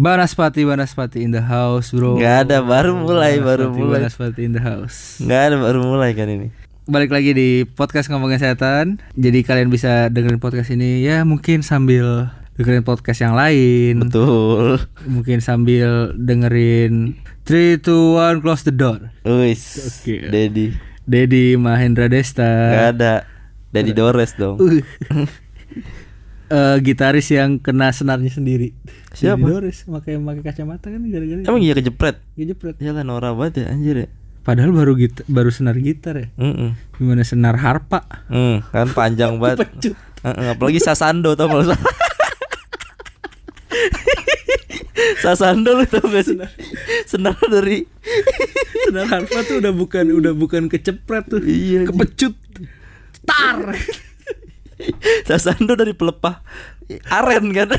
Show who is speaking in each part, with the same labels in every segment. Speaker 1: Banaspati, Banaspati in the house, bro.
Speaker 2: Nggak ada, baru mulai, baru
Speaker 1: Banaspati,
Speaker 2: mulai.
Speaker 1: Banaspati in the house.
Speaker 2: Nggak ada baru mulai kan ini.
Speaker 1: Balik lagi di podcast ngomong kesehatan. Jadi kalian bisa dengerin podcast ini ya mungkin sambil dengerin podcast yang lain.
Speaker 2: Betul.
Speaker 1: Mungkin sambil dengerin 3 2 1 close the door.
Speaker 2: Wis.
Speaker 1: Oke. Eh.
Speaker 2: Dedi.
Speaker 1: Dedi Mahendra
Speaker 2: Nggak
Speaker 1: Desta.
Speaker 2: ada. Dedi Dores dong.
Speaker 1: Uh. Eh, gitaris yang kena senarnya sendiri.
Speaker 2: Siapa?
Speaker 1: Dedi Doris, pakai pakai kacamata kan gara-gara
Speaker 2: Emang iya kejepret.
Speaker 1: kejepret.
Speaker 2: Yalah Nora banget ya anjir ya.
Speaker 1: Padahal baru gita, baru senar gitar ya.
Speaker 2: Mm-mm.
Speaker 1: Gimana senar harpa?
Speaker 2: Mm, kan panjang banget.
Speaker 1: Pecut.
Speaker 2: Heeh, apalagi Sasando tau gak lu? Sasando lu tau gak sih? Senar dari
Speaker 1: Senar harpa tuh udah bukan udah bukan kecepret tuh.
Speaker 2: Iya,
Speaker 1: Kepecut. Tar.
Speaker 2: Sasando dari pelepah aren kan.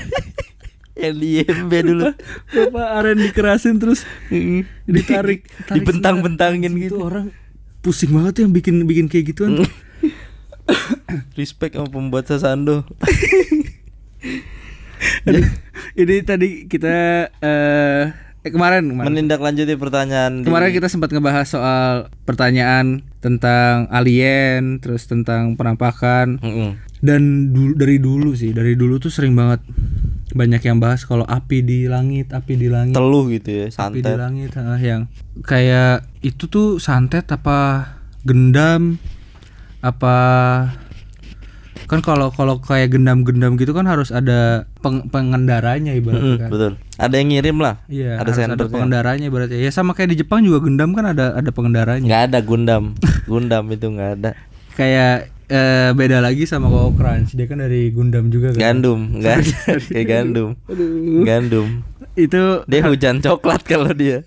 Speaker 2: Yang di IMB dulu.
Speaker 1: Bapak aren dikerasin terus
Speaker 2: Mm.
Speaker 1: ditarik, tarik
Speaker 2: dibentang-bentangin
Speaker 1: senar. Itu
Speaker 2: gitu.
Speaker 1: orang pusing banget tuh yang bikin bikin kayak gituan.
Speaker 2: Respect sama pembuat Sasando.
Speaker 1: Aduh, ini tadi kita eh eh, kemarin kemarin,
Speaker 2: Menindaklanjuti pertanyaan di-
Speaker 1: kemarin kita sempat ngebahas soal pertanyaan tentang alien, terus tentang penampakan.
Speaker 2: Mm-mm.
Speaker 1: dan dulu dari dulu sih dari dulu tuh sering banget banyak yang bahas kalau api di langit api di langit
Speaker 2: teluh gitu ya,
Speaker 1: api di
Speaker 2: santet.
Speaker 1: langit ah, yang kayak itu tuh santet apa gendam apa kan kalau kalau kayak gendam-gendam gitu kan harus ada peng- pengendaranya
Speaker 2: Mm-mm,
Speaker 1: ibaratnya kan
Speaker 2: Mm, betul. Ada yang ngirim lah.
Speaker 1: Iya,
Speaker 2: ada
Speaker 1: harus ada
Speaker 2: sendernya.
Speaker 1: pengendaranya ibaratnya. Ya sama kayak di Jepang juga gendam kan ada ada pengendaranya.
Speaker 2: Nggak ada Gundam. Gundam itu nggak ada.
Speaker 1: Kayak eh, beda lagi sama Wow Crunch, dia kan dari Gundam juga kan.
Speaker 2: Gandum, nggak ada. kayak gandum. Gandum.
Speaker 1: Itu
Speaker 2: Dia hujan coklat kalau dia.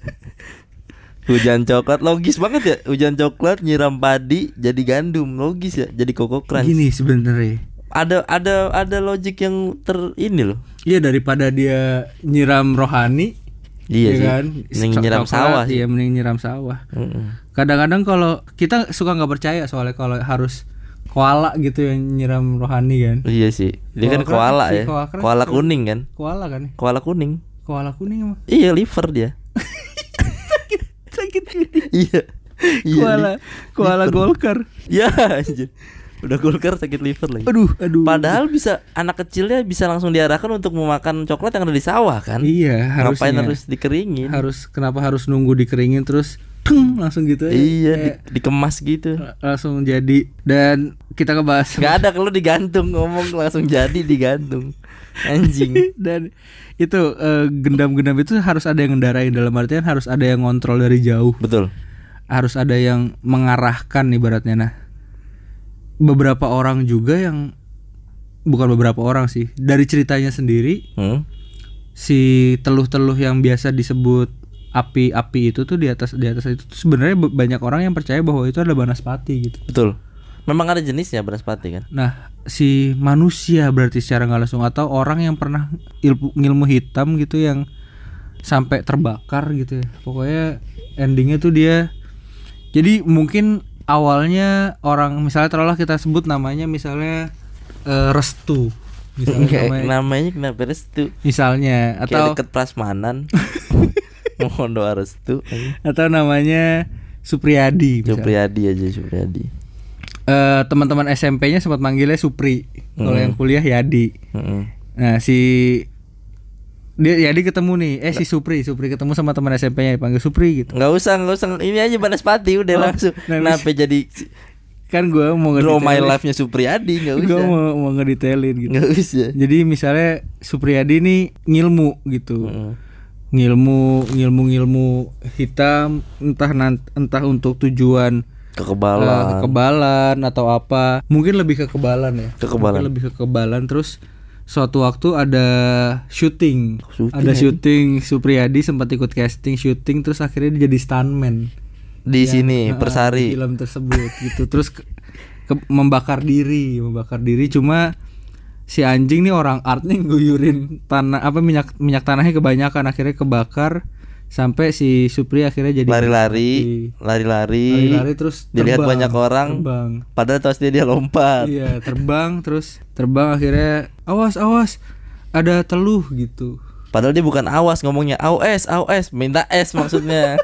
Speaker 2: Hujan coklat logis banget ya. Hujan coklat nyiram padi jadi gandum logis ya. Jadi koko crunch.
Speaker 1: Gini sebenarnya.
Speaker 2: Ada ada ada logik yang ter ini loh.
Speaker 1: Iya daripada dia nyiram rohani,
Speaker 2: Iya
Speaker 1: ya
Speaker 2: sih.
Speaker 1: kan?
Speaker 2: Mending nyiram
Speaker 1: Coklat,
Speaker 2: sawah sih.
Speaker 1: Iya mending nyiram sawah.
Speaker 2: Mm-mm.
Speaker 1: Kadang-kadang kalau kita suka nggak percaya soalnya kalau harus koala gitu yang nyiram rohani kan.
Speaker 2: Iya sih. Dia kan
Speaker 1: Koala
Speaker 2: koala
Speaker 1: crunch
Speaker 2: ya.
Speaker 1: sih, koala crunch.
Speaker 2: Koala kuning kan.
Speaker 1: Koala kan? ya?
Speaker 2: Koala kuning.
Speaker 1: Koala kuning emang.
Speaker 2: Iya liver dia.
Speaker 1: Sakit
Speaker 2: iya. Iya,
Speaker 1: Koala,
Speaker 2: li-
Speaker 1: koala
Speaker 2: liver.
Speaker 1: golkar.
Speaker 2: Ya anjir. Udah golkar sakit liver lagi.
Speaker 1: Aduh, aduh.
Speaker 2: Padahal bisa anak kecilnya bisa langsung diarahkan untuk memakan coklat yang ada di sawah kan.
Speaker 1: Iya, harusnya.
Speaker 2: Ngapain harus dikeringin?
Speaker 1: harus kenapa harus nunggu dikeringin terus teng langsung gitu aja.
Speaker 2: Iya, di-
Speaker 1: Kayak
Speaker 2: dikemas gitu.
Speaker 1: langsung jadi dan kita ngebahas
Speaker 2: Gak ada kalau digantung ngomong langsung jadi digantung. Anjing.
Speaker 1: dan itu eh, gendam-gendam itu harus ada yang ngendarain dalam artian harus ada yang ngontrol dari jauh
Speaker 2: Betul.
Speaker 1: harus ada yang mengarahkan ibaratnya nah beberapa orang juga yang bukan beberapa orang sih dari ceritanya sendiri
Speaker 2: Hmm?
Speaker 1: si teluh-teluh yang biasa disebut api-api itu tuh di atas di atas itu tuh sebenarnya be- banyak orang yang percaya bahwa itu adalah banaspati gitu
Speaker 2: Betul. Memang ada jenisnya banaspati kan?
Speaker 1: Nah, si manusia berarti secara nggak langsung atau orang yang pernah ilmu, ngilmu hitam gitu yang sampai terbakar gitu ya. Pokoknya endingnya tuh dia jadi mungkin awalnya orang misalnya taruhlah kita sebut namanya misalnya eh, Restu misalnya
Speaker 2: Kayak
Speaker 1: namanya-
Speaker 2: namanya kenapa restu?
Speaker 1: misalnya atau
Speaker 2: Kayak deket prasmanan. Mohon doa restu.
Speaker 1: atau namanya Supriyadi misalnya.
Speaker 2: Supriyadi aja Supriyadi.
Speaker 1: Eh, teman-teman SMP-nya sempat manggilnya Supri. Kalau yang kuliah Yadi.
Speaker 2: Mm-mm.
Speaker 1: Nah si dia ya dia ketemu nih eh si Supri Supri ketemu sama teman SMP-nya dipanggil Supri gitu
Speaker 2: Nggak usah, nggak usah. Ini aja banaspati udah
Speaker 1: Oh,
Speaker 2: langsung.
Speaker 1: nah,
Speaker 2: Kenapa jadi
Speaker 1: kan gue mau
Speaker 2: draw my
Speaker 1: ngedetailin
Speaker 2: ya life-nya Supriyadi? Nggak
Speaker 1: gue
Speaker 2: usah.
Speaker 1: mau mau ngedetailin gitu
Speaker 2: Nggak usah.
Speaker 1: jadi misalnya Supriyadi nih ngilmu gitu ngilmu ngilmu ngilmu hitam entah nan- entah untuk tujuan eh,
Speaker 2: Kekebalan.
Speaker 1: kekebalan atau apa mungkin lebih ke kekebalan ya
Speaker 2: Kekebalan.
Speaker 1: mungkin lebih ke kekebalan terus suatu waktu ada syuting,
Speaker 2: Syuting
Speaker 1: ada
Speaker 2: lagi.
Speaker 1: syuting Supriyadi sempat ikut casting syuting terus akhirnya dia jadi stuntman
Speaker 2: di sini
Speaker 1: Nah, di
Speaker 2: persari
Speaker 1: film tersebut gitu terus ke- ke- membakar diri membakar diri cuma si anjing nih orang art nih guyurin tanah apa minyak minyak tanahnya kebanyakan akhirnya kebakar sampai si Supri akhirnya jadi
Speaker 2: lari-lari lari-lari
Speaker 1: lari terus
Speaker 2: dilihat
Speaker 1: terbang,
Speaker 2: banyak orang
Speaker 1: terbang
Speaker 2: padahal tas dia dia lompat
Speaker 1: iya terbang terus terbang akhirnya awas awas ada teluh gitu
Speaker 2: Padahal dia bukan awas ngomongnya awas awas minta es maksudnya.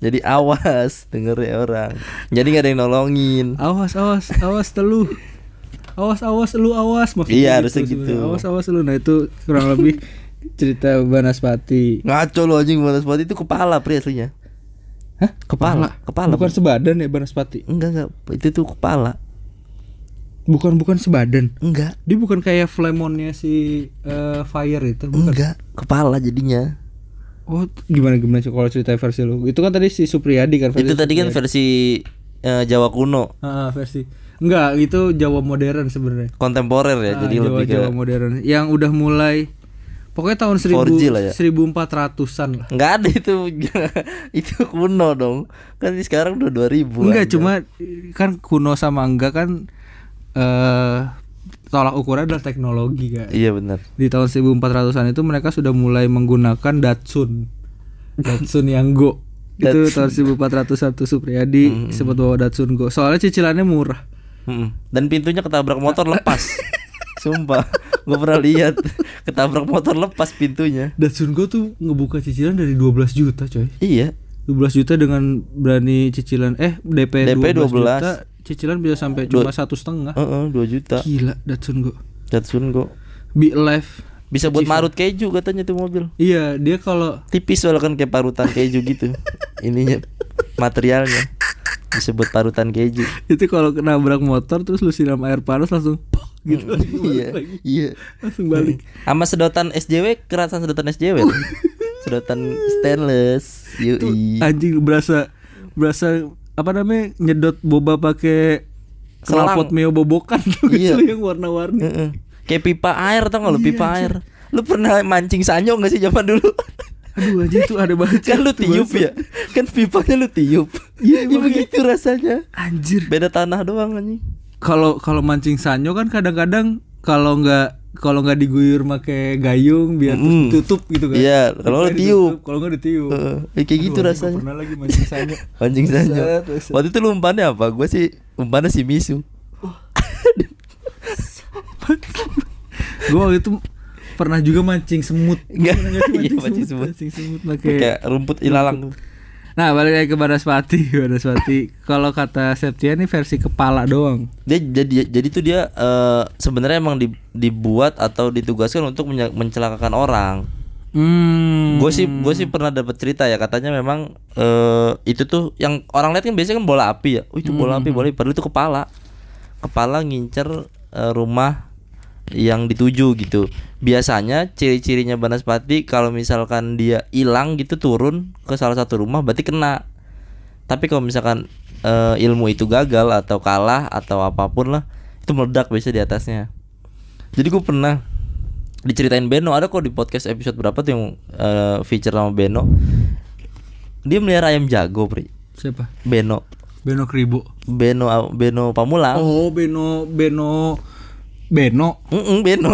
Speaker 2: Jadi awas denger ya orang. Jadi nggak ada yang nolongin.
Speaker 1: awas awas awas telu awas awas lu awas maksudnya
Speaker 2: Iya, harusnya gitu.
Speaker 1: sebenarnya. awas awas lu nah itu kurang lebih cerita Banaspati
Speaker 2: Ngaco lo anjing Banaspati itu kepala pri aslinya.
Speaker 1: Hah?
Speaker 2: Kepala, kepala.
Speaker 1: bukan sebadan ya Banaspati
Speaker 2: Enggak enggak itu tuh kepala.
Speaker 1: bukan bukan sebadan
Speaker 2: Enggak.
Speaker 1: dia bukan kayak flemonnya si eh, fire itu bukan
Speaker 2: Enggak, kepala jadinya.
Speaker 1: oh gimana gimana sih kalau cerita versi lu itu kan tadi si Supriyadi kan versi
Speaker 2: itu tadi kan versi eh, Jawa kuno,
Speaker 1: Ah, versi enggak itu Jawa modern sebenarnya
Speaker 2: kontemporer ya.
Speaker 1: Ah,
Speaker 2: jadi
Speaker 1: Jawa,
Speaker 2: lebih ke
Speaker 1: Jawa modern yang udah mulai pokoknya tahun
Speaker 2: 4G
Speaker 1: 1000
Speaker 2: lah ya.
Speaker 1: 1400-an lah.
Speaker 2: Enggak ada itu. itu kuno dong. Kan ini sekarang udah 2000.
Speaker 1: Enggak
Speaker 2: aja.
Speaker 1: cuma kan kuno sama enggak kan eh tolak ukuran adalah teknologi kan.
Speaker 2: Iya benar.
Speaker 1: Di tahun 1400-an itu mereka sudah mulai menggunakan Datsun. Datsun yang Go. itu tahun 1401 Supriyadi sempat bawa Datsun Go. Soalnya cicilannya murah.
Speaker 2: Mm-mm. Dan pintunya ketabrak motor lepas. Sumpah, gue pernah lihat ketabrak motor lepas pintunya.
Speaker 1: Datsun Go tuh ngebuka cicilan dari 12 juta, coy.
Speaker 2: Iya.
Speaker 1: 12 juta dengan berani cicilan eh DP,
Speaker 2: DP
Speaker 1: 12,
Speaker 2: 12.
Speaker 1: juta cicilan bisa sampai cuma satu setengah
Speaker 2: Heeh, 2 juta.
Speaker 1: gila Datsun go
Speaker 2: Datsun kok.
Speaker 1: be alive
Speaker 2: Bisa buat marut keju katanya tuh mobil.
Speaker 1: iya dia kalau
Speaker 2: Tipis soalnya kan kayak parutan keju gitu. Ininya materialnya. Bisa buat parutan keju.
Speaker 1: itu kalau kena nabrak motor terus lu siram air panas langsung pok, gitu langsung balik
Speaker 2: iya.
Speaker 1: lagi.
Speaker 2: Iya.
Speaker 1: langsung balik
Speaker 2: Sama sedotan SJW, kerasan sedotan SJW. tuh. sedotan stainless. iya. Yui.
Speaker 1: anjing berasa berasa apa namanya nyedot boba pakai
Speaker 2: Selang.
Speaker 1: knalpot meo bobokan
Speaker 2: Iya.
Speaker 1: gitu yang warna-warni
Speaker 2: Heeh. Kayak pipa air tau gak lu pipa
Speaker 1: Iya,
Speaker 2: air Lu pernah mancing sanyo gak sih zaman dulu?
Speaker 1: aduh anjing itu ada banget
Speaker 2: kan lu
Speaker 1: Itu
Speaker 2: tiup
Speaker 1: bahasa.
Speaker 2: ya Kan pipanya lu tiup
Speaker 1: Iya,
Speaker 2: Iya
Speaker 1: makanya.
Speaker 2: begitu rasanya
Speaker 1: anjir
Speaker 2: Beda tanah doang anjing
Speaker 1: kalau kalau mancing sanyo kan kadang-kadang kalau nggak kalau nggak diguyur pakai gayung biar terus
Speaker 2: Mm.
Speaker 1: ditutup gitu kan.
Speaker 2: Iya, kalau
Speaker 1: Biar
Speaker 2: nggak ditiup.
Speaker 1: ditutup, Kalau nggak ditiup.
Speaker 2: Heeh, eh, Kayak gitu
Speaker 1: Aduh, anjing,
Speaker 2: rasanya
Speaker 1: gua Pernah lagi mancing sanyo.
Speaker 2: Mancing sanyo
Speaker 1: Buset, buset.
Speaker 2: Waktu itu lu umpannya apa? Gue sih umpannya si misu
Speaker 1: Gua waktu itu pernah juga mancing semut.
Speaker 2: Nggak,
Speaker 1: Pernah nggak sih
Speaker 2: iya, mancing semut.
Speaker 1: Mancing semut pakai.
Speaker 2: Kayak rumput ilalang
Speaker 1: Nah, balik lagi ke Banaspati, Banaspati. kalau kata Septian nih versi kepala doang.
Speaker 2: dia jadi jadi tuh dia eh, sebenarnya emang di- dibuat atau ditugaskan untuk menye- mencelakakan orang
Speaker 1: Hmm.
Speaker 2: Gue sih gue sih pernah dapat cerita ya katanya memang eh itu tuh yang orang lihat kan biasanya kan bola api ya. Oh itu
Speaker 1: Hmm.
Speaker 2: bola api bola api padahal itu kepala. Kepala ngincer eh, rumah yang dituju gitu. Biasanya ciri-cirinya Banaspati kalau misalkan dia hilang gitu turun ke salah satu rumah berarti kena. Tapi kalau misalkan eh, ilmu itu gagal atau kalah atau apapun lah itu meledak biasa di atasnya. Jadi gue pernah diceritain Beno ada kok di podcast episode berapa tuh yang eh, feature sama Beno. Dia melihara ayam jago, Pri.
Speaker 1: siapa?
Speaker 2: Beno.
Speaker 1: Beno Kribo.
Speaker 2: Beno ah, Beno Pamulang.
Speaker 1: Oh, Beno Beno Beno.
Speaker 2: Mm-mm, Beno.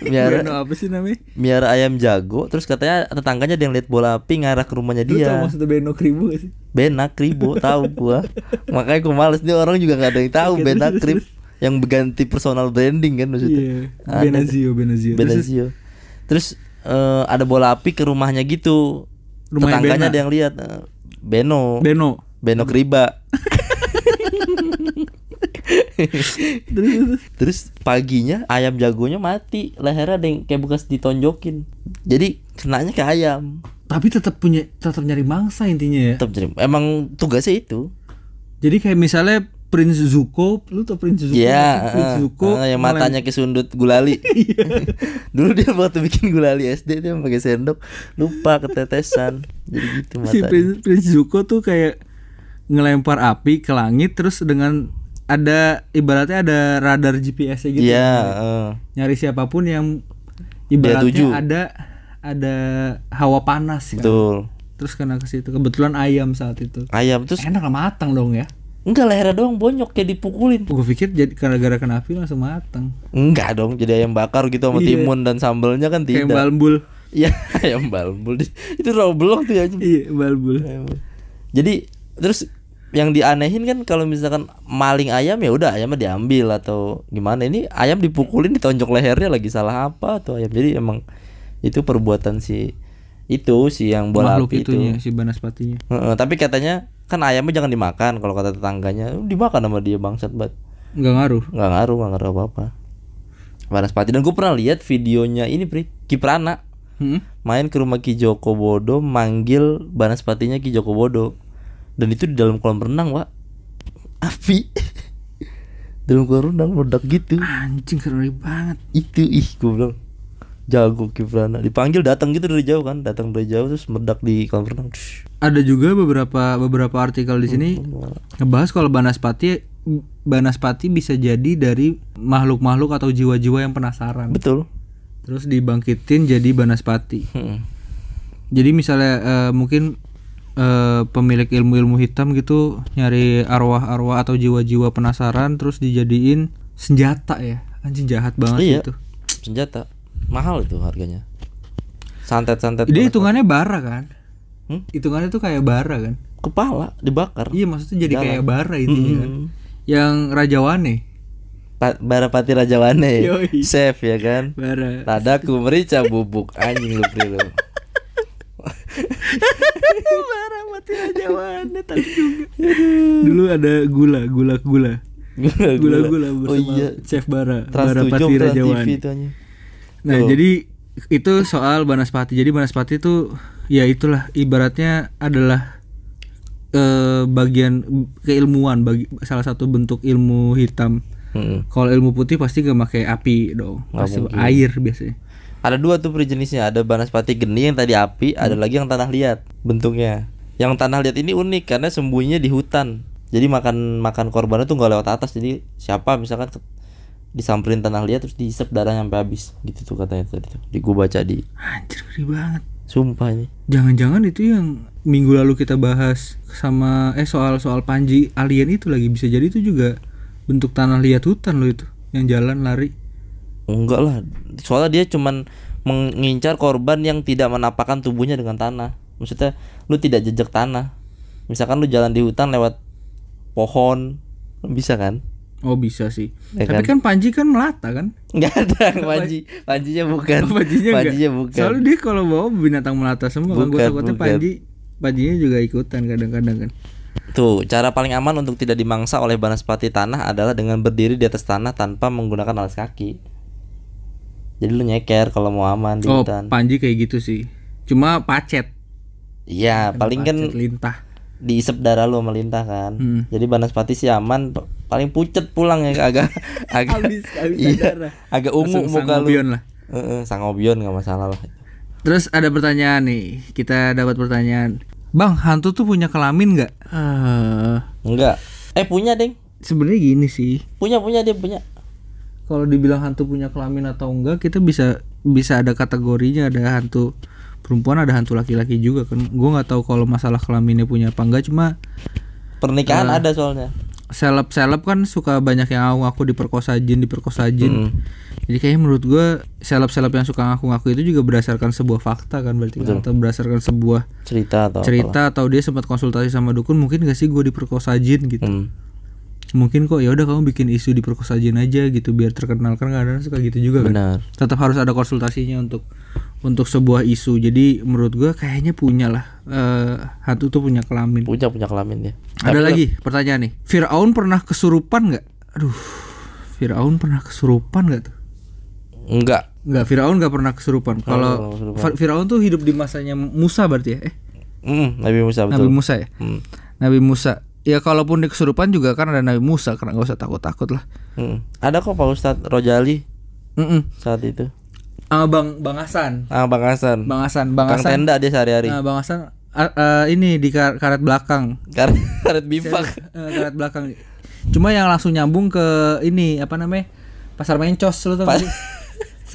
Speaker 2: melihara
Speaker 1: Beno apa sih namanya?
Speaker 2: melihara ayam jago terus katanya tetangganya ada yang lihat bola api ngarah ke rumahnya
Speaker 1: Lu tau
Speaker 2: dia.
Speaker 1: maksudnya Beno Kribo gak sih?
Speaker 2: Benak Ribo tahu gua. Makanya gua males nih orang juga nggak ada yang tahu
Speaker 1: Oke,
Speaker 2: Benak
Speaker 1: terus,
Speaker 2: Rib yang berganti personal branding kan maksudnya.
Speaker 1: Iya,
Speaker 2: Ada.
Speaker 1: Benazio, Benazio. Terus-
Speaker 2: Benazio. Terus eh, ada bola api ke rumahnya gitu.
Speaker 1: Rumahnya
Speaker 2: Tetangganya
Speaker 1: Bena.
Speaker 2: ada yang lihat eh, Beno.
Speaker 1: Beno.
Speaker 2: Beno Kriba. Terus paginya ayam jagonya mati, lehernya ada yang kayak bekas ditonjokin. Jadi kenanya ke ayam.
Speaker 1: Tapi tetap punya tetap nyari mangsa intinya ya.
Speaker 2: Tetap jadi- emang tugasnya itu.
Speaker 1: Jadi kayak misalnya Prince Zuko, lu tau Prince Zuko?
Speaker 2: Iya,
Speaker 1: nggak sih? Prince
Speaker 2: heeh.
Speaker 1: Zuko Iya.
Speaker 2: Heeh, yang
Speaker 1: ngelem-
Speaker 2: matanya kesundut gulali. Dulu dia waktu bikin gulali SD dia pakai sendok, lupa ketetesan. Jadi gitu
Speaker 1: si
Speaker 2: matanya.
Speaker 1: Prince, Prince Zuko tuh kayak ngelempar api ke langit terus dengan ada ibaratnya ada radar GPS-nya gitu.
Speaker 2: Iya, heeh.
Speaker 1: Nyari siapapun yang ibaratnya
Speaker 2: tuju.
Speaker 1: ada ada hawa panas kan.
Speaker 2: betul.
Speaker 1: Terus kena ke situ. Kebetulan ayam saat itu.
Speaker 2: Ayam terus
Speaker 1: Enak lah matang dong ya.
Speaker 2: enggak lehernya doang bonyok kayak dipukulin.
Speaker 1: Gue pikir jadi gara-gara kena api langsung matang.
Speaker 2: Enggak dong, jadi ayam bakar gitu sama
Speaker 1: Iya.
Speaker 2: timun dan sambelnya kan
Speaker 1: Kayak
Speaker 2: tidak.
Speaker 1: balbul.
Speaker 2: Iya, ayam balbul. Itu roblok tuh anjing.
Speaker 1: Iya, balbul.
Speaker 2: Jadi terus yang dianehin kan kalau misalkan maling ayam ya udah ayamnya diambil atau gimana ini ayam dipukulin ditonjok lehernya lagi salah apa tuh ayam jadi emang itu perbuatan si itu si yang bola
Speaker 1: makhluk
Speaker 2: api itu.
Speaker 1: itunya si banaspatinya
Speaker 2: Heeh, tapi katanya kan ayamnya jangan dimakan kalau kata tetangganya "Oh, dimakan sama dia bangsat banget
Speaker 1: nggak ngaruh
Speaker 2: nggak ngaruh nggak ngaruh apa apa Banaspati dan gue pernah lihat videonya ini Pri Kiprana
Speaker 1: Hmm?
Speaker 2: main ke rumah Ki Joko Bodo manggil Banaspatinya Ki Joko Bodo dan itu di dalam kolam renang Wak api dalam kolam renang meledak gitu
Speaker 1: anjing ngeri banget
Speaker 2: itu ih gue bilang jago Kiprana dipanggil datang gitu dari jauh kan datang dari jauh terus meledak di kolam renang Dush.
Speaker 1: ada juga beberapa beberapa artikel di sini ngebahas kalau banaspati banaspati bisa jadi dari makhluk-makhluk atau jiwa-jiwa yang penasaran
Speaker 2: betul
Speaker 1: terus dibangkitin jadi banaspati
Speaker 2: Hmm.
Speaker 1: jadi misalnya eh, mungkin eh, pemilik ilmu-ilmu hitam gitu nyari arwah-arwah atau jiwa-jiwa penasaran terus dijadiin senjata ya anjing jahat banget
Speaker 2: Iya.
Speaker 1: itu
Speaker 2: senjata mahal itu harganya santet-santet
Speaker 1: dia hitungannya bara kan
Speaker 2: Hmm?
Speaker 1: hitungannya tuh kayak bara kan
Speaker 2: kepala dibakar
Speaker 1: iya maksudnya jadi
Speaker 2: Jalan.
Speaker 1: kayak bara intinya kan
Speaker 2: Mm-mm.
Speaker 1: yang rajawane
Speaker 2: Pa- Barapati Raja Wane
Speaker 1: Yoi.
Speaker 2: Chef ya kan
Speaker 1: bara
Speaker 2: Tadaku merica bubuk Anjing lu pri lu
Speaker 1: bara mati rajawane tapi juga dulu ada gula gula gula
Speaker 2: Gula
Speaker 1: gula gula
Speaker 2: Oh
Speaker 1: bersama
Speaker 2: iya
Speaker 1: chef bara
Speaker 2: Trans
Speaker 1: bara pati
Speaker 2: 7 Trans TV
Speaker 1: rajawane
Speaker 2: itu anjing
Speaker 1: Nah, jadi itu soal banaspati. Jadi banaspati itu ya itulah ibaratnya adalah eh, bagian keilmuan bagi salah satu bentuk ilmu hitam.
Speaker 2: Mm-mm.
Speaker 1: Kalau ilmu putih pasti gak pakai api dong. Pasti air biasanya.
Speaker 2: Ada dua tuh pri jenisnya Ada banaspati geni yang tadi api Ada
Speaker 1: Hmm.
Speaker 2: lagi yang tanah liat Bentuknya Yang tanah liat ini unik Karena sembunyinya di hutan Jadi makan makan korbannya tuh nggak lewat atas Jadi siapa misalkan ke- disamperin tanah liat terus diisep darah sampai habis gitu tuh katanya tadi tuh di gua baca di
Speaker 1: Anjir ngeri banget.
Speaker 2: sumpah ini
Speaker 1: Jangan-jangan itu yang minggu lalu kita bahas sama eh soal soal Panji alien itu lagi bisa jadi itu juga bentuk tanah liat hutan loh itu yang jalan lari.
Speaker 2: Enggak lah, soalnya dia cuman mengincar korban yang tidak menapakkan tubuhnya dengan tanah. Maksudnya lu tidak jejak tanah. Misalkan lu jalan di hutan lewat pohon, bisa kan?
Speaker 1: Oh bisa sih.
Speaker 2: Ya
Speaker 1: Tapi kan Panji kan melata kan?
Speaker 2: Enggak ada panji, panjinya bukan.
Speaker 1: Oh, panjinya enggak?
Speaker 2: Kan? bukan.
Speaker 1: Soalnya dia kalau bawa binatang melata semua kan gue
Speaker 2: Bukan,
Speaker 1: takutnya
Speaker 2: bukan.
Speaker 1: panji panjinya juga ikutan kadang-kadang kan.
Speaker 2: Tuh, cara paling aman untuk tidak dimangsa oleh banaspati tanah adalah dengan berdiri di atas tanah tanpa menggunakan alas kaki. Jadi lu nyeker kalau mau aman di
Speaker 1: Oh,
Speaker 2: hutan.
Speaker 1: panji kayak gitu sih. Cuma pacet,
Speaker 2: Iya, paling kan
Speaker 1: pacet lintah.
Speaker 2: diisep darah lu melintah kan.
Speaker 1: Hmm.
Speaker 2: Jadi banaspati sih aman p- paling pucet pulang ya agak agak iya,
Speaker 1: Habis- habisan darah.
Speaker 2: agak ungu
Speaker 1: Langsung
Speaker 2: muka lu.
Speaker 1: sangobion lah.
Speaker 2: Heeh, sangobion nggak masalah lah.
Speaker 1: Terus ada pertanyaan nih. Kita dapat pertanyaan. Bang, hantu tuh punya kelamin nggak? Eh,
Speaker 2: Enggak. Eh punya, Ding.
Speaker 1: sebenarnya gini sih.
Speaker 2: Punya punya dia punya.
Speaker 1: Kalau dibilang hantu punya kelamin atau enggak, kita bisa bisa ada kategorinya ada hantu perempuan ada hantu laki-laki juga kan gue nggak tahu kalau masalah kelaminnya punya apa enggak cuma
Speaker 2: Pernikahan
Speaker 1: Nah.
Speaker 2: ada soalnya.
Speaker 1: seleb-seleb kan suka banyak yang ngaku ngaku diperkosa jin diperkosa
Speaker 2: Hmm.
Speaker 1: jin jadi kayaknya menurut gue seleb-seleb yang suka ngaku-ngaku itu juga berdasarkan sebuah fakta kan berarti kan? atau berdasarkan sebuah
Speaker 2: Cerita atau
Speaker 1: cerita atau dia sempat konsultasi sama dukun mungkin gak sih gue diperkosa jin gitu
Speaker 2: Hmm.
Speaker 1: mungkin kok ya udah kamu bikin isu diperkosa jin aja gitu biar terkenal kan kadang suka gitu juga kan
Speaker 2: Benar.
Speaker 1: tetap harus ada konsultasinya untuk untuk sebuah isu jadi menurut gue kayaknya punya lah eh, hantu tuh punya kelamin
Speaker 2: Punya punya kelamin dia.
Speaker 1: ada lagi pertanyaan nih. Firaun pernah kesurupan nggak? Aduh, Firaun pernah kesurupan nggak tuh?
Speaker 2: Enggak.
Speaker 1: Nggak, Firaun nggak pernah kesurupan.
Speaker 2: pernah
Speaker 1: Kalau Fa- Firaun tuh hidup di masanya Musa berarti ya? Eh,
Speaker 2: Hmm, Nabi Musa
Speaker 1: Nabi
Speaker 2: betul.
Speaker 1: Musa ya?
Speaker 2: Hmm.
Speaker 1: Nabi Musa. Ya kalaupun dia kesurupan juga kan ada Nabi Musa, karena nggak usah takut-takut lah.
Speaker 2: Hmm. Ada kok Pak Ustadz Rojali
Speaker 1: Mm-mm.
Speaker 2: saat itu.
Speaker 1: Ah, Bang Bang Hasan,
Speaker 2: Ah, Bang Hasan.
Speaker 1: Bang Hasan, Bang
Speaker 2: Kang
Speaker 1: Hasan.
Speaker 2: tenda dia sehari-hari.
Speaker 1: Ah, Bang Hasan ah, ah, ini di kar- karet belakang.
Speaker 2: Karet karet bimpak.
Speaker 1: Eh, karet belakang. Cuma yang langsung nyambung ke ini apa namanya? Pasar Mencos lu tau gak sih?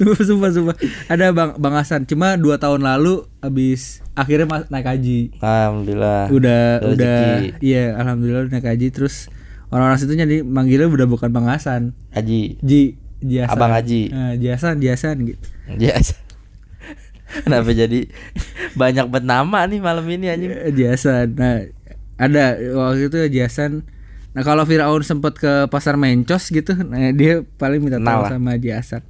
Speaker 1: sumpah, sumpah, sumpah. Ada Bang Bang Hasan. Cuma dua tahun lalu habis akhirnya mas- naik haji.
Speaker 2: Alhamdulillah.
Speaker 1: Udah
Speaker 2: Ah, Rezeki.
Speaker 1: udah iya alhamdulillah udah naik haji terus orang-orang situ jadi manggilnya udah bukan Bang Hasan.
Speaker 2: Haji.
Speaker 1: Ji Ji Hasan.
Speaker 2: Abang Haji.
Speaker 1: Eh, Ji Hasan, Ji Hasan gitu.
Speaker 2: Yes. Kenapa jadi banyak banget nama nih malam ini anjing?
Speaker 1: Eh, Ji Hasan. Nah, ada waktu itu Ji Hasan. Nah, kalau Firaun sempat ke pasar Mencos gitu, nah dia paling minta tahu
Speaker 2: Kenal lah.
Speaker 1: sama Ji Hasan.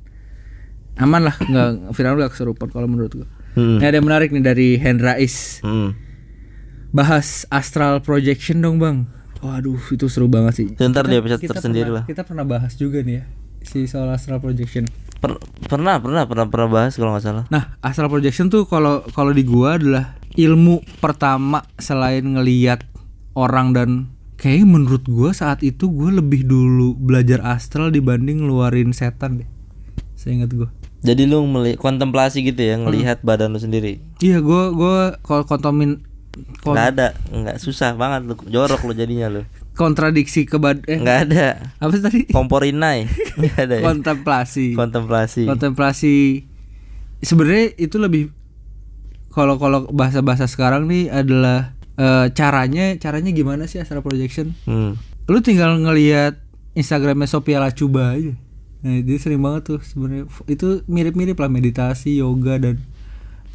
Speaker 1: aman lah nggak viral nggak keserupan kalau menurut gua
Speaker 2: Hmm.
Speaker 1: ini ada yang menarik nih dari Hendra Is
Speaker 2: Hmm.
Speaker 1: bahas astral projection dong bang waduh itu seru banget sih
Speaker 2: Itu ntar dia bisa tersendiri
Speaker 1: pernah,
Speaker 2: lah.
Speaker 1: kita pernah bahas juga nih ya si soal astral projection
Speaker 2: Per- pernah, pernah, pernah, pernah bahas kalau nggak salah.
Speaker 1: Nah, astral projection tuh kalau kalau di gua adalah ilmu pertama selain ngeliat orang dan kayaknya menurut gua saat itu gua lebih dulu belajar astral dibanding ngeluarin setan deh. Seingat gua.
Speaker 2: Jadi lu meli- kontemplasi gitu ya, ngelihat
Speaker 1: Hmm.
Speaker 2: badan lu sendiri.
Speaker 1: Iya, gua gua kalau kontomin kon-
Speaker 2: Nggak ada, nggak susah banget lu jorok lu jadinya lu.
Speaker 1: kontradiksi ke bad- eh
Speaker 2: Nggak ada.
Speaker 1: apa sih tadi?
Speaker 2: Komporinai. Nggak ada. Ya?
Speaker 1: Kontemplasi.
Speaker 2: Kontemplasi.
Speaker 1: kontemplasi sebenarnya itu lebih kalau kalau bahasa bahasa sekarang nih adalah eh, caranya caranya gimana sih astral projection
Speaker 2: Hmm.
Speaker 1: lu tinggal ngelihat instagramnya Sophia Lacuba aja nah dia sering banget tuh sebenarnya itu mirip-mirip lah meditasi yoga dan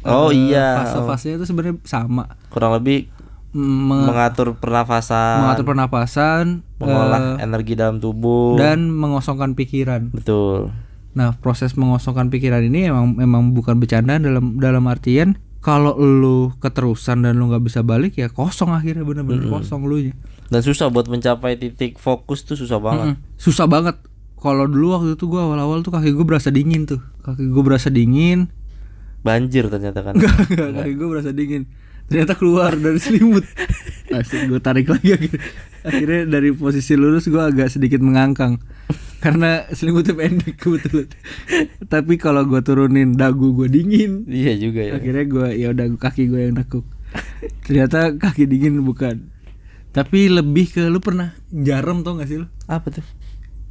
Speaker 2: Oh,
Speaker 1: eh,
Speaker 2: iya.
Speaker 1: fase-fasenya itu sebenarnya sama
Speaker 2: Kurang lebih
Speaker 1: Meng-
Speaker 2: mengatur pernafasan,
Speaker 1: mengatur pernapasan eh,
Speaker 2: mengolah energi dalam tubuh.
Speaker 1: dan mengosongkan pikiran
Speaker 2: Betul.
Speaker 1: Nah, proses mengosongkan pikiran ini emang memang bukan bercandaan dalam dalam artian kalau lu keterusan dan lu nggak bisa balik ya kosong akhirnya bener-bener kosong lu nya.
Speaker 2: Dan susah buat mencapai titik fokus tuh susah banget.
Speaker 1: Susah banget. Kalau dulu waktu itu gua awal-awal tuh kaki gue berasa dingin tuh. Kaki gue berasa dingin.
Speaker 2: Banjir ternyata kan.
Speaker 1: kaki gue berasa dingin. Ternyata keluar dari selimut. Asik gue tarik lagi akhirnya. Akhirnya dari posisi lurus gua agak sedikit mengangkang. Karena selimutnya pendek kebetulan. Tapi kalau gua turunin dagu gue dingin.
Speaker 2: iya juga ya.
Speaker 1: akhirnya gue ya udah kaki gue yang nekuk ternyata kaki dingin bukan tapi lebih ke lu pernah jarum tau gak sih lu
Speaker 2: Apa tuh?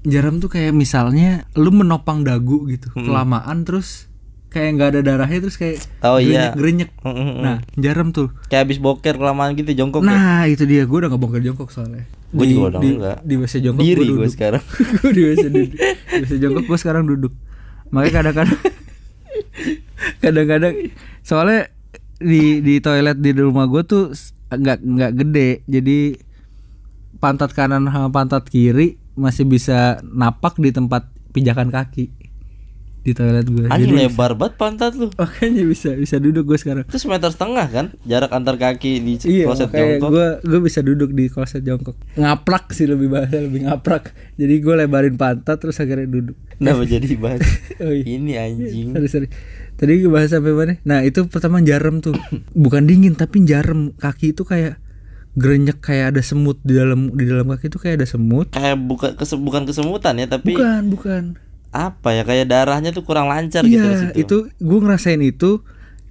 Speaker 1: jarum tuh kayak misalnya lu menopang dagu gitu
Speaker 2: Hmm.
Speaker 1: kelamaan terus kayak nggak ada darahnya terus kayak
Speaker 2: Oh, iya.
Speaker 1: grenyek
Speaker 2: Mm, mm, mm.
Speaker 1: nah jarum tuh
Speaker 2: Kayak habis boker kelamaan gitu jongkok. ya.
Speaker 1: nah itu dia gue udah nggak bongkar jongkok soalnya
Speaker 2: Gua
Speaker 1: Di-
Speaker 2: juga udah
Speaker 1: di,
Speaker 2: nggak.
Speaker 1: di WC jongkok
Speaker 2: Diri
Speaker 1: gue
Speaker 2: gue
Speaker 1: duduk
Speaker 2: sekarang.
Speaker 1: gue di WC duduk di WC jongkok gue sekarang duduk makanya kadang-kadang kadang-kadang soalnya di di toilet di rumah gue tuh s- nggak nggak gede jadi pantat kanan sama pantat kiri masih bisa napak di tempat pijakan kaki di toilet gue
Speaker 2: Anjing
Speaker 1: jadi
Speaker 2: lebar banget pantat lu.
Speaker 1: makanya bisa bisa duduk gue sekarang
Speaker 2: Itu meter setengah kan jarak antar kaki di
Speaker 1: Iya,
Speaker 2: kloset
Speaker 1: makanya
Speaker 2: jongkok.
Speaker 1: gue gue bisa duduk di kloset jongkok. Ngaplak sih lebih bahasa lebih ngaprak. Jadi gue lebarin pantat terus akhirnya duduk.
Speaker 2: Kenapa jadi bahas?
Speaker 1: Oh iya.
Speaker 2: Ini anjing.
Speaker 1: Sorry, sorry. Tadi gue bahas sampai mana? Nah itu pertama jarum tuh, bukan dingin tapi jarum kaki itu kayak grenyek kayak ada semut di dalam di dalam kaki itu kayak ada semut.
Speaker 2: Kayak buka, kese, bukan kesemutan ya, tapi
Speaker 1: Bukan, bukan.
Speaker 2: apa ya kayak darahnya tuh kurang lancar gitu ke
Speaker 1: Iya,
Speaker 2: situ.
Speaker 1: itu gue ngerasain itu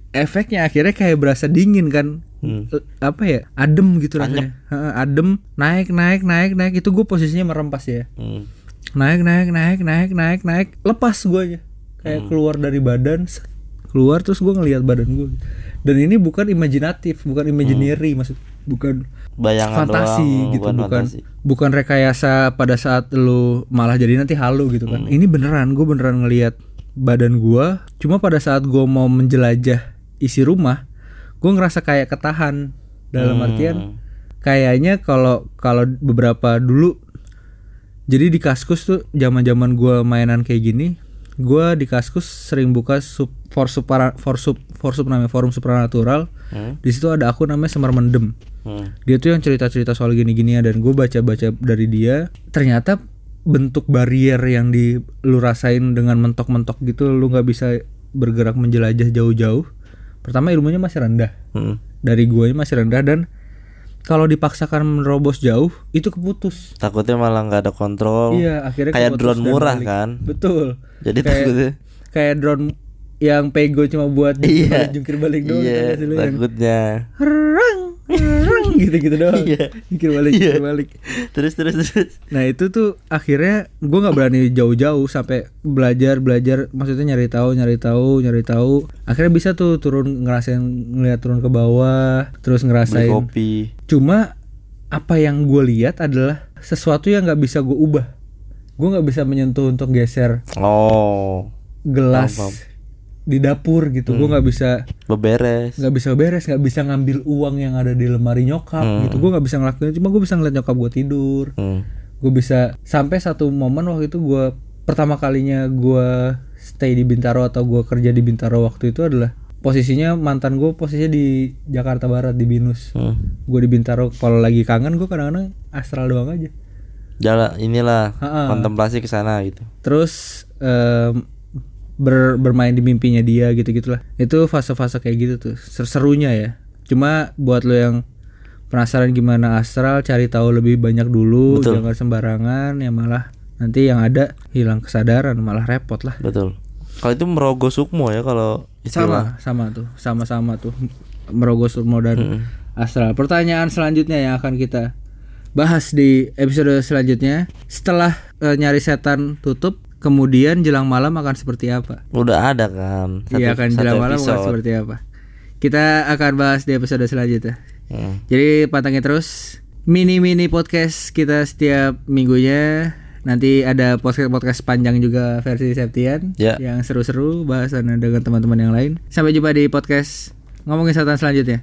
Speaker 1: efeknya akhirnya kayak berasa dingin kan.
Speaker 2: Hmm.
Speaker 1: Eh, apa ya? Adem gitu rasanya. Heeh, adem, naik naik naik naik itu gue posisinya merempas ya.
Speaker 2: Hmm.
Speaker 1: Naik naik naik naik naik naik lepas gue aja. Kayak keluar dari badan set. keluar terus gue ngelihat badan gue dan ini bukan imajinatif bukan imaginary maksud bukan
Speaker 2: Bayangan
Speaker 1: fantasi
Speaker 2: doang,
Speaker 1: gitu
Speaker 2: bukan
Speaker 1: bukan
Speaker 2: fantasi.
Speaker 1: bukan rekayasa pada saat lu malah jadi nanti halu gitu kan
Speaker 2: Hmm.
Speaker 1: ini beneran gue beneran ngelihat badan gua cuma pada saat gua mau menjelajah isi rumah gue ngerasa kayak ketahan dalam
Speaker 2: Hmm.
Speaker 1: artian kayaknya kalau kalau beberapa dulu jadi di kaskus tuh zaman zaman gua mainan kayak gini gua di kaskus sering buka sub for supra for sub for sub namanya forum supranatural
Speaker 2: Hmm.
Speaker 1: di situ ada akun namanya semar mendem
Speaker 2: Hmm.
Speaker 1: dia tuh yang cerita-cerita soal gini-ginian dan gue baca-baca dari dia ternyata bentuk barrier yang di lu rasain dengan mentok-mentok gitu lu nggak bisa bergerak menjelajah jauh-jauh pertama ilmunya masih rendah
Speaker 2: Hmm.
Speaker 1: dari guanya masih rendah dan kalau dipaksakan menerobos jauh itu keputus
Speaker 2: Takutnya malah nggak ada kontrol.
Speaker 1: iya akhirnya
Speaker 2: kayak
Speaker 1: keputus
Speaker 2: drone
Speaker 1: dan
Speaker 2: murah
Speaker 1: balik.
Speaker 2: kan.
Speaker 1: betul
Speaker 2: Jadi
Speaker 1: Kayak-
Speaker 2: takutnya.
Speaker 1: kayak drone yang pego cuma buat
Speaker 2: Iya.
Speaker 1: jungkir balik kan doang
Speaker 2: Iya,
Speaker 1: tau gak sih lu yang
Speaker 2: takutnya.
Speaker 1: reng reng gitu-gitu doang
Speaker 2: Iya.
Speaker 1: jungkir balik
Speaker 2: Iya.
Speaker 1: jungkir balik
Speaker 2: Terus terus terus.
Speaker 1: Nah itu tuh akhirnya gue nggak berani jauh-jauh sampai belajar belajar maksudnya nyari tahu nyari tahu nyari tahu akhirnya bisa tuh turun ngerasain ngeliat turun ke bawah terus
Speaker 2: Beli
Speaker 1: ngerasain
Speaker 2: kopi.
Speaker 1: cuma apa yang gue lihat adalah sesuatu yang nggak bisa gue ubah gue nggak bisa menyentuh untuk geser
Speaker 2: Oh,
Speaker 1: gelas
Speaker 2: Paham, Hmm. paham.
Speaker 1: di dapur gitu gue nggak bisa
Speaker 2: beberes.
Speaker 1: nggak bisa beres nggak bisa ngambil uang yang ada di lemari nyokap gitu gue nggak bisa ngelakuin cuma gue bisa ngeliat nyokap gue tidur
Speaker 2: Hmm.
Speaker 1: gue bisa sampai satu momen waktu itu gue pertama kalinya gue stay di Bintaro atau gua kerja di Bintaro waktu itu adalah posisinya mantan gue posisinya di Jakarta Barat di Binus.
Speaker 2: Hmm.
Speaker 1: Gue di Bintaro kalau lagi kangen gue kadang-kadang astral doang aja.
Speaker 2: Jalan inilah
Speaker 1: Ha-ha.
Speaker 2: kontemplasi ke sana gitu.
Speaker 1: Terus em, ber- bermain di mimpinya dia gitu-gitulah. Itu fase-fase kayak gitu tuh. Ser- Serunya ya. Cuma buat lo yang penasaran gimana astral cari tahu lebih banyak dulu,
Speaker 2: Betul.
Speaker 1: jangan sembarangan ya malah nanti yang ada hilang kesadaran malah repot lah.
Speaker 2: Betul. Kalau itu merogoh sukmo ya kalau istilah.
Speaker 1: sama sama tuh sama-sama tuh merogoh surmo dan astral pertanyaan selanjutnya yang akan kita bahas di episode selanjutnya setelah eh, nyari setan tutup kemudian jelang malam akan seperti apa
Speaker 2: Udah ada kan. Satu,
Speaker 1: iya akan
Speaker 2: satu
Speaker 1: jelang malam akan
Speaker 2: episode.
Speaker 1: seperti apa kita akan bahas di episode selanjutnya
Speaker 2: Hmm.
Speaker 1: jadi pantengin terus mini-mini podcast kita setiap minggunya. Nanti ada podcast-podcast panjang juga versi Septian
Speaker 2: Ya.
Speaker 1: yang seru-seru bahasannya dengan teman-teman yang lain. Sampai jumpa di podcast ngomongin setan selanjutnya.